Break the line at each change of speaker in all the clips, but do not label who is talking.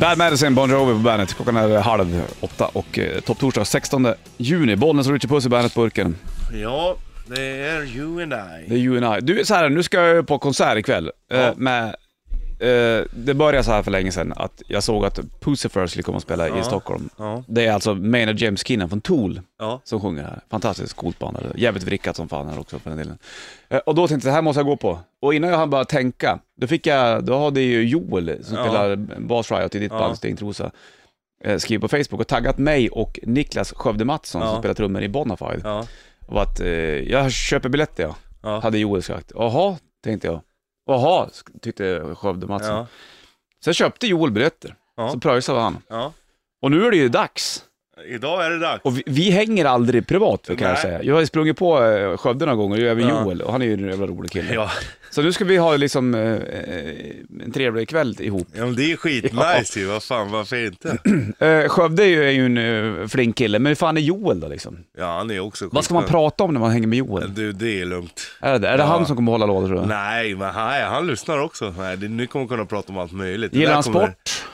Bad Madison, Bon Jovi på bandet. Klockan är eh, halv åtta och eh, topptorsdag 16 juni. Bollnäs och Richie Puss i Bandet-burken.
Ja, det är you and I.
Det är you and I. Du, så här, nu ska jag ju på konsert ikväll eh,
Ja.
med... Eh, det började så här för länge sedan, att jag såg att Pussifer skulle komma och spela i
Ja.
Stockholm.
Ja,
Det är alltså Maynard James Kinnan från Tool
ja.
som sjunger här. Fantastiskt coolt band. eller Jävligt vrickat som fan här också för den delen. Eh, Och då tänkte jag, det här måste jag gå på. Och innan jag hann börja tänka, då fick jag, då hade ju Joel som
Ja.
spelar Bas Riot i ditt
Ja.
band Sting Trosa, eh, skrivit på Facebook och taggat mig och Niklas Skövde Mattsson som
Ja.
spelar trummor i Bonafide.
ja.
Och att eh, jag köper biljetter jag,
ja.
hade Joel sagt. Jaha, tänkte jag. Jaha, sk- tyckte Skövde Mattsson.
ja.
Sen köpte Joel biljetter,
Ja.
så pröjsade han.
ja.
Och nu är det ju dags.
Idag är det dags.
Och vi, vi hänger aldrig privat kan jag
Nej.
säga. Jag har ju sprungit på eh, Skövde några gånger, ju även
Ja.
Joel, och han är ju en jävla rolig kille.
Ja,
Så nu ska vi ha liksom eh, eh, en trevlig kväll ihop.
ja men det är skitnice ju. Vad fan, varför inte?
Eh, Skövde är ju, är ju en eh, flink kille, men hur fan är Joel då liksom?
Ja, han är också
Vad ska man
skitskön.
prata om när man hänger med Joel?
Du, det är lugnt.
Är det, är det
Mm. Ja.
han som kommer hålla lådor tror du?
Nej, men han, han lyssnar också. Nej, det, nu kommer vi kunna prata om allt möjligt. Det
Gillar
där
han
kommer-
sport?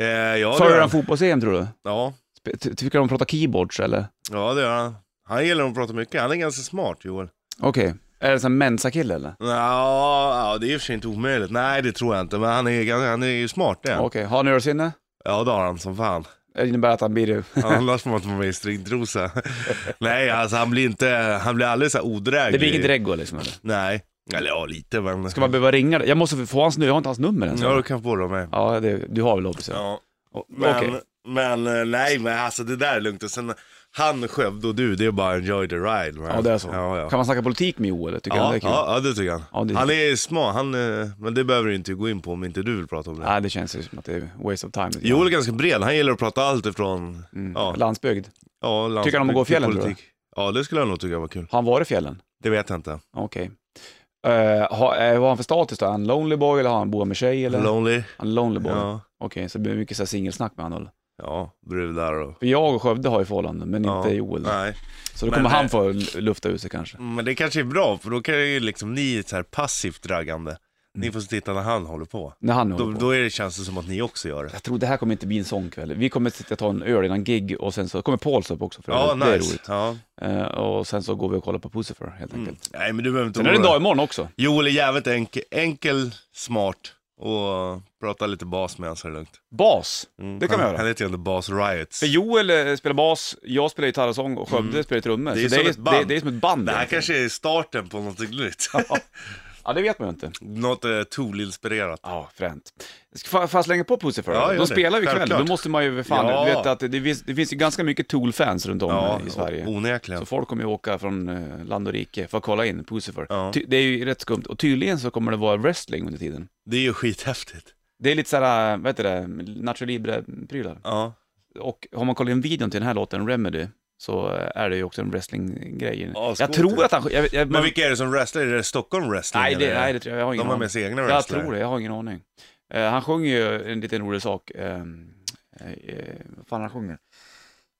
Eh, ja, det
Följer
gör
han
han.
fotbolls-EM tror du?
Ja,
Sp- ty- Tycker han om att prata keyboards eller?
ja, det gör han. Han gillar att prata mycket. Han är ganska smart, Joel.
Okej. Är det en sån här Mensa-kille eller?
Ja, ja, det är i och för sig inte omöjligt. Nej, det tror jag inte. Men han är, ganska- han är ju smart, det är han.
Okej, har han örsinne?
Ja, det har han som fan.
Det innebär att han blir...
Annars får man inte vara med i stringtrosa. Nej, alltså han blir inte, han blir aldrig så här odräglig.
Det blir inget Rego liksom eller?
Nej, eller ja lite men.
Ska man behöva ringa? Jag måste få hans nummer, jag har inte hans nummer ens.
Ja, du kan få dem med.
Ja, det, du har väl lobbys? Ja.
Ja.
O-
Men,
Okej.
men eh, nej, men alltså det där är lugnt. Och sen han, Skövde och du, det är bara enjoy the ride. Man.
Ja, det är så.
Ja, ja.
Kan man snacka politik med Joel? Tycker han
Ja,
det är
ja,
kul?
ja, det tycker han.
Ja, det är
han är smart, han, eh, men det behöver du inte gå in på om inte du vill prata om det.
Nej, det känns ju som att det är waste of time. lite
Joel
grann.
är ganska bred, han gillar att prata allt ifrån... Ja,
Landsbygd.
ja, landsbygd
Tycker han om att gå i
till
fjällen, tror du?
politik. Ja, det skulle jag nog tycka var kul.
Har han varit i fjällen?
Det vet jag inte.
Okej. Eh, har, eh, vad har han för status då? Är han lonely boy eller har han bor med tjej? Eller?
Lonely.
han är lonely boy.
Ja.
Okej, så det blir mycket så här singelsnack med honom. eller?
Ja, brudar och...
För jag och Skövde har ju förhållanden, men
Ja,
inte Joel.
Nej,
Så då
Men-
kommer han få l- lufta ut sig kanske.
men det kanske är bra för då kan ju liksom ni är så här passivt draggande.
Mm.
Ni får titta när han håller på.
När han håller
Då,
på.
då är det, känns det som att ni också gör det.
Jag tror det här kommer inte bli en sån kväll. Vi kommer sitta och ta en öl innan gig och sen så kommer Pauls upp också för
Ja,
det är
nice. Mm.
roligt.
Ja.
Eh, och sen så går vi och kollar på Pussifer helt enkelt.
Nej, men du behöver inte
Sen är det en
oroa
dag
dig.
imorgon också.
Joel är jävligt enkel, enkel smart och prata lite bas med honom så är det lugnt.
Bas, det kan man
han,
göra.
Han heter ju ändå Bas Riots.
För Joel eh, spelar bas, jag spelar gitarr och sång och Skövde spelar trummor.
Mm. Det är
Så
som ett band.
Det, det är som ett band.
Det här
egentligen.
kanske är starten på något nytt.
Ja, det vet man ju inte.
något eh, Tool-inspirerat.
Ja, fränt. Ska fa- fan slänga på Pussy för
Ja,
ja,
gör
De
det.
spelar ju ikväll,
Självklart.
då måste man ju för fan,
Ja.
du vet att det, det, finns, det finns ju ganska mycket Tool-fans runt om
Ja, Oh,
eh, i Sverige.
o- onekligen.
Så folk kommer ju åka från eh, land och rike för att kolla in Pussifer.
Ja.
Ty- det är ju rätt skumt. Och tydligen så kommer det vara wrestling under tiden.
Det är ju skithäftigt.
Det är lite såhär, vad heter det, Nacho Libre-prylar.
Ja.
Och har man kollat in videon till den här låten, Remedy, så eh, är det ju också en wrestlinggrej.
Ja,
jag
skål
tror
till.
att han... Jag, jag,
Men vilka är det som wrestlar? Är det Stockholm Wrestling?
nej, det,
eller?
nej, det tror jag. Jag har ingen
De har
aning.
med sig egna
Jag
wrestlare?
tror det, jag har ingen aning. Eh, han sjunger ju en liten rolig sak. Eh, eh, vad fan han sjunger?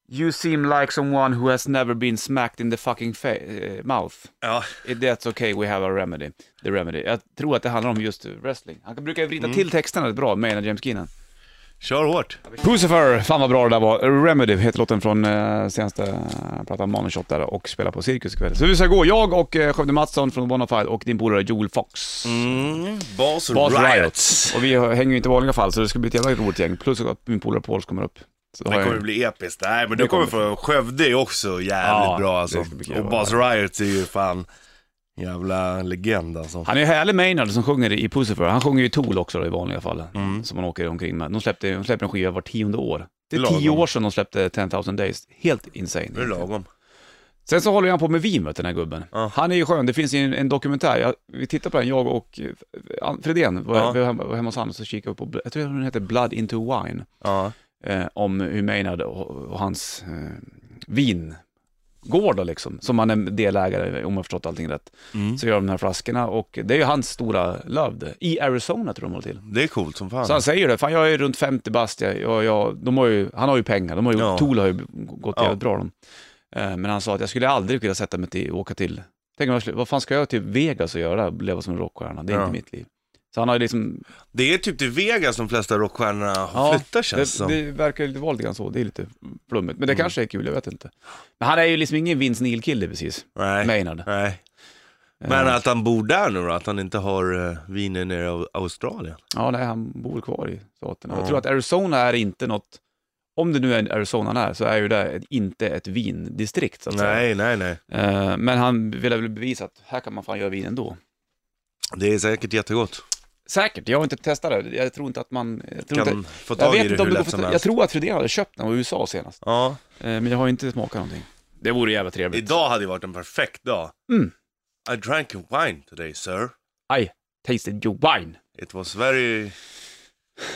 You seem like someone who has never been smacked in the fucking fa- eh, mouth.
Ja,
If that's okay, we have a remedy. The remedy. Jag tror att det handlar om just wrestling. Han brukar ju vrida
Mm.
till texterna rätt bra, menar James Keenan.
kör hårt.
Pucifer, fan vad bra det där var. Remedy heter låten från eh, senaste plattan Manus Shop där och spelar på Cirkus ikväll. Så vi ska gå, jag och eh, Skövde Mattsson från Bonafide och din polare Joel Fox.
Mm. Bas,
Bas
Riots.
Riots. Och vi hänger ju inte i vanliga fall så det ska bli ett jävla roligt gäng. Plus att min polare Pauls kommer upp. Så då
Det
har jag-
kommer bli episkt. Nej, men det kommer få... Skövde är också jävligt
Ja,
bra
det
alltså.
ska bli kul.
Och Bas Riots är ju fan jävla legend alltså.
Han är ju härlig Maynard som sjunger i Pussifer. Han sjunger ju i Tool också då, i vanliga fall.
Mm.
Som man åker omkring med. De, släppte, de släpper en skiva var tionde år. Det är
Lagom.
tio år sedan de släppte 10,000 Days. Helt insane.
Det är lagom.
Sen så håller han på med vin vet du, den här gubben.
Ja.
Han är ju skön, det finns ju en, en dokumentär, jag, vi tittade på den, jag och eh, An- Fredén var,
Ja.
var, hemma, var hemma hos honom och så kikade vi på, jag tror den heter Blood into Wine,
Ja.
eh, om hur Maynard och, och hans eh, vingård då liksom, som han är delägare i, om jag har förstått allting rätt.
Mm.
Så gör de de här flaskorna och det är ju hans stora lövd, i Arizona tror jag de håller till.
Det är coolt som fan.
Så han säger det, fan jag är runt 50 bast, jag, jag, jag, de har ju, han har ju pengar, de har ju,
Ja.
Tool har ju gått
Ja.
jävligt bra de. Eh, Men han sa att jag skulle aldrig vilja sätta mig till, åka till, tänk om jag skulle, vad fan ska jag till Vegas och göra, leva som en rockstjärna, det är
Ja.
inte mitt liv. Så han har ju liksom,
Det är typ till Vegas de flesta rockstjärnorna
ja,
flyttar känns
det,
som. Mm.
det verkar ju lite vara lite grann så, det är lite flummigt. Men det kanske är kul, jag vet inte. Men han är ju liksom ingen Vince Neil-kille precis,
Nej.
Maynard.
Nej.
Eh.
Men att han bor där nu då, att han inte har eh, viner nere i Au- Australien.
Ja, nej, han bor kvar i staterna.
Ja.
Jag tror att Arizona är inte något, om det nu är Arizona han är, så är ju det ett- inte ett vindistrikt så att säga.
Nej, nej, nej.
Eh, Men han ville väl bevisa att här kan man fan göra vin ändå.
Det är säkert jättegott.
Säkert, jag har inte testat det. Jag tror inte att man... Jag tror,
Kan
inte,
få
jag
tag i
vet
det
inte om
hur
det går
lätt som
för, Jag
helst.
tror att Fredén hade köpt den i USA senast,
Ja.
Eh, men jag har inte smakat någonting. Det vore jävla trevligt.
Idag hade ju varit en perfekt dag.
Mm.
I drank a wine today sir.
I tasted your wine.
It was very,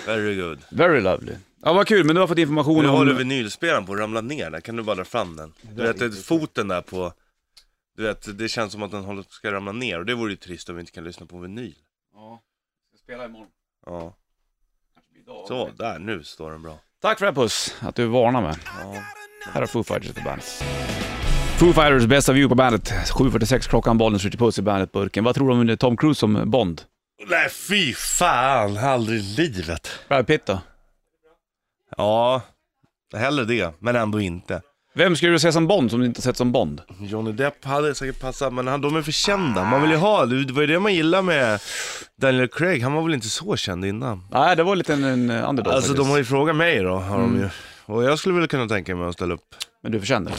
very good.
Very lovely. Ja, vad kul, men du har fått information
Nu
om...
håller vinylspelaren på att ramla ner där, kan du bara dra fram den? Du vet, det- foten där på, du vet, det känns som att den håller, ska ramla ner och det vore ju trist om vi inte kan lyssna på vinyl.
Ja, jag ska spela imorgon.
Ja,
Kanske blir idag.
så, där, nu står den bra.
Tack för det Puss, att du varnar mig. Här har Foo Fighters på bandet. Foo Fighters, bästa view på bandet. 7.46 klockan, bollen skjuter puss i bandet-burken. Vad tror du om Tom Cruise som Bond?
Nej fy fan, aldrig i livet.
Brad Pitt då?
Ja, hellre det, men ändå inte.
Vem skulle du se som Bond som du inte sett som Bond?
Johnny Depp hade säkert passat, men han, de är för kända. Man vill ju ha, det var ju det man gillade med Daniel Craig, han var väl inte så känd innan.
Nej, det var lite en, en underdog
Alltså de
faktiskt.
har ju frågat mig då, har de ju. Och jag skulle väl kunna tänka mig att ställa upp.
Men du förtjänar det.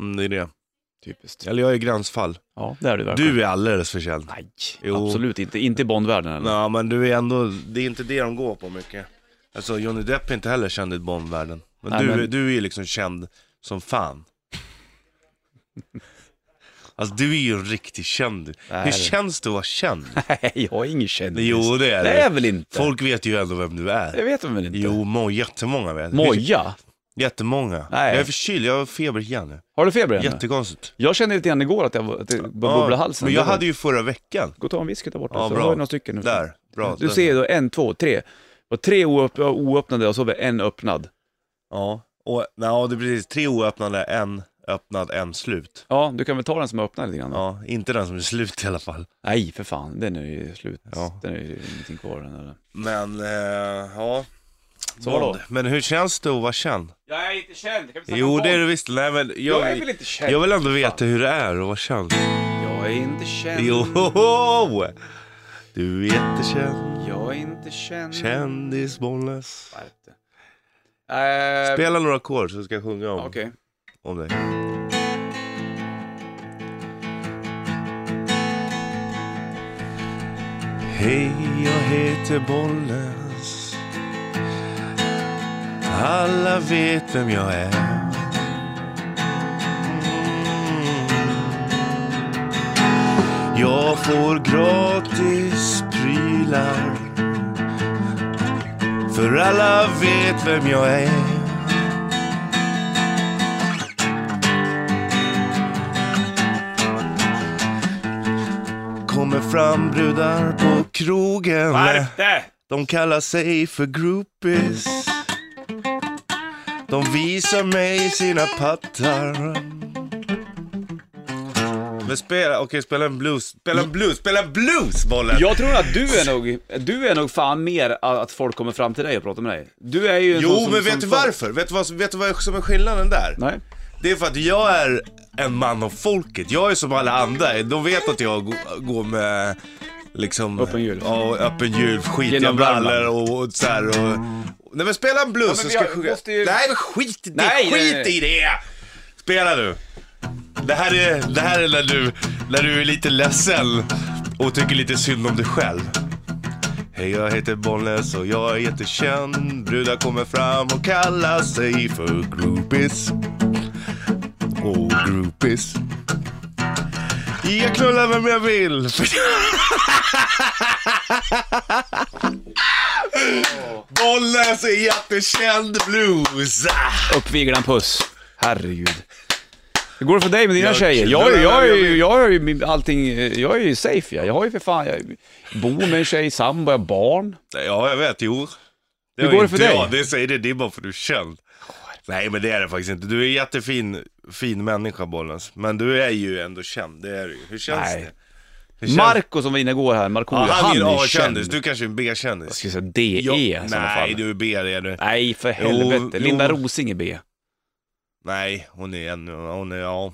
Mm, det är det.
Typiskt.
Eller jag är gränsfall.
Ja, det är du verkligen.
Du är alldeles för känd.
Nej,
Jo.
absolut inte. Inte i Bondvärlden eller?
Ja, men du är ändå, det är inte det de går på mycket. Alltså Johnny Depp är inte heller känd i Bondvärlden. Men,
Nej,
du,
men-
du är ju liksom känd som fan. Alltså du är ju en riktig känd.
Nej,
Hur
det-
känns det att vara känd?
Nej, jag är ingen kändis.
Jo det är
det är
det.
väl inte?
Folk vet ju ändå vem du
Det
är.
vet de väl inte?
Jo, må, jättemånga vet.
Moja?
Jättemånga.
Nej.
Jag är förkyld, jag har feber igen nu.
Har du feber ännu?
Jättekonstigt.
Jag kände lite grann igår att jag var- att det började bubbla i halsen.
Men jag
Det var-
hade ju förra veckan.
Gå och ta en whisky där borta,
Ja,
så
bra.
har vi några stycken nu.
Där, bra.
Du ser ju då en, två, tre. Och tre oöpp- oöppnade och så var det en öppnad.
Ja, och no, det är precis tre oöppnade, en öppnad, en slut.
Ja, du kan väl ta den som är öppnad lite grann då?
Ja, inte den som är slut i alla fall.
Nej, för fan, den är ju slut.
Ja.
Den är ju ingenting kvar den eller.
Men, eh, ja.
Så
Bond.
då?
Men hur känns det att vara känd?
Jag är inte känd, kan vi
Jo, det är du visst. Nej, men jag,
Jag är väl inte känd?
Jag vill ändå veta hur det är att vara känd.
Jag är inte känd,
Jo! Du är jättekänd,
jag är inte känd.
kändis Bollnäs.
Skärpte. Eh,
Spela några ackord så ska jag sjunga om,
Okej.
om dig. Hej, jag heter Bollnäs Alla vet vem jag är Mm. Jag får gratis prylar För alla vet vem jag är Kommer fram brudar på krogen
Skärpte!
de kallar sig för groupies De visar mig sina pattar Men spela, okej spela en blues, spela en blues, spela en blues bollen!
Jag tror att du är nog, du är nog fan mer att- att folk kommer fram till dig och pratar med dig. Du är ju en sån
jo
som,
men
som
vet du varför? Vet du vad, vet du vad som är skillnaden där?
Nej.
Det är för att jag är en man av folket. Jag är som alla andra. De vet att jag g- går med liksom...
Öppen jul.
Ja, öppen jul, skitiga
Genom Värmland.
brallor och, och så här och... Nej men spela en blues
men
så
vi
ska
har-
jag sjunga.
måste ju-
Nej men skit i det,
Nej, nej,
skit
nej.
i det! Spela du. Det här är, det här är när, du, när du är lite ledsen och tycker lite synd om dig själv. Hej jag heter Bollnäs och jag är jättekänd. Brudar kommer fram och kallar sig för groupies och groupies. Jag knullar vem jag vill. Bollnäs är jättekänd blues.
Uppvigla en puss. Herregud. Hur går det för dig med dina
Jag-
tjejer? Jag, jag, jag, är ju- jag har ju min- allting, eh, jag är ju safe jag. Jag har ju för fan, jag bor med en tjej, sambo, jag har barn.
Ja, jag vet. Jo. Det
Hur
var
går det för
inte
dig?
Jag. Det säger det, det är bara för att du är känd. Nej, men det är det faktiskt inte. Du är en jättefin fin människa, Bollnäs. Men du är ju ändå känd, det är du ju. Hur känns
Nej.
det? Det känns-
Marco som var inne igår här, Marco,
Ja,
han,
en
är
A-kändis,
känd.
du kanske är en B-kändis.
Jag skulle säga DE
Ja,
i sådana
Nej,
fall.
du är B det är du.
Nej, för
Jo,
helvete. Linda
jo.
Rosing är B.
Nej, hon är ännu, hon är, ja.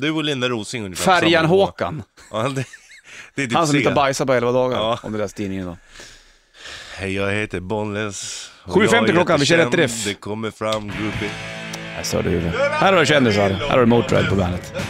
Du och Linda Rosing ungefär på samma nivå.
Färjan-Håkan,
Ja, det, det är typ
han som
C.
inte har bajsat på 11 dagar,
Ja.
om du läst tidningen då.
Hej, jag heter Bonles. och
7.50
jag är
klockan, vi kör
jättekänd.
rätt riff.
Det kommer fram, groupie.
Jag störde huvudet. Här har du kändisar, här har du Motörhead på bandet.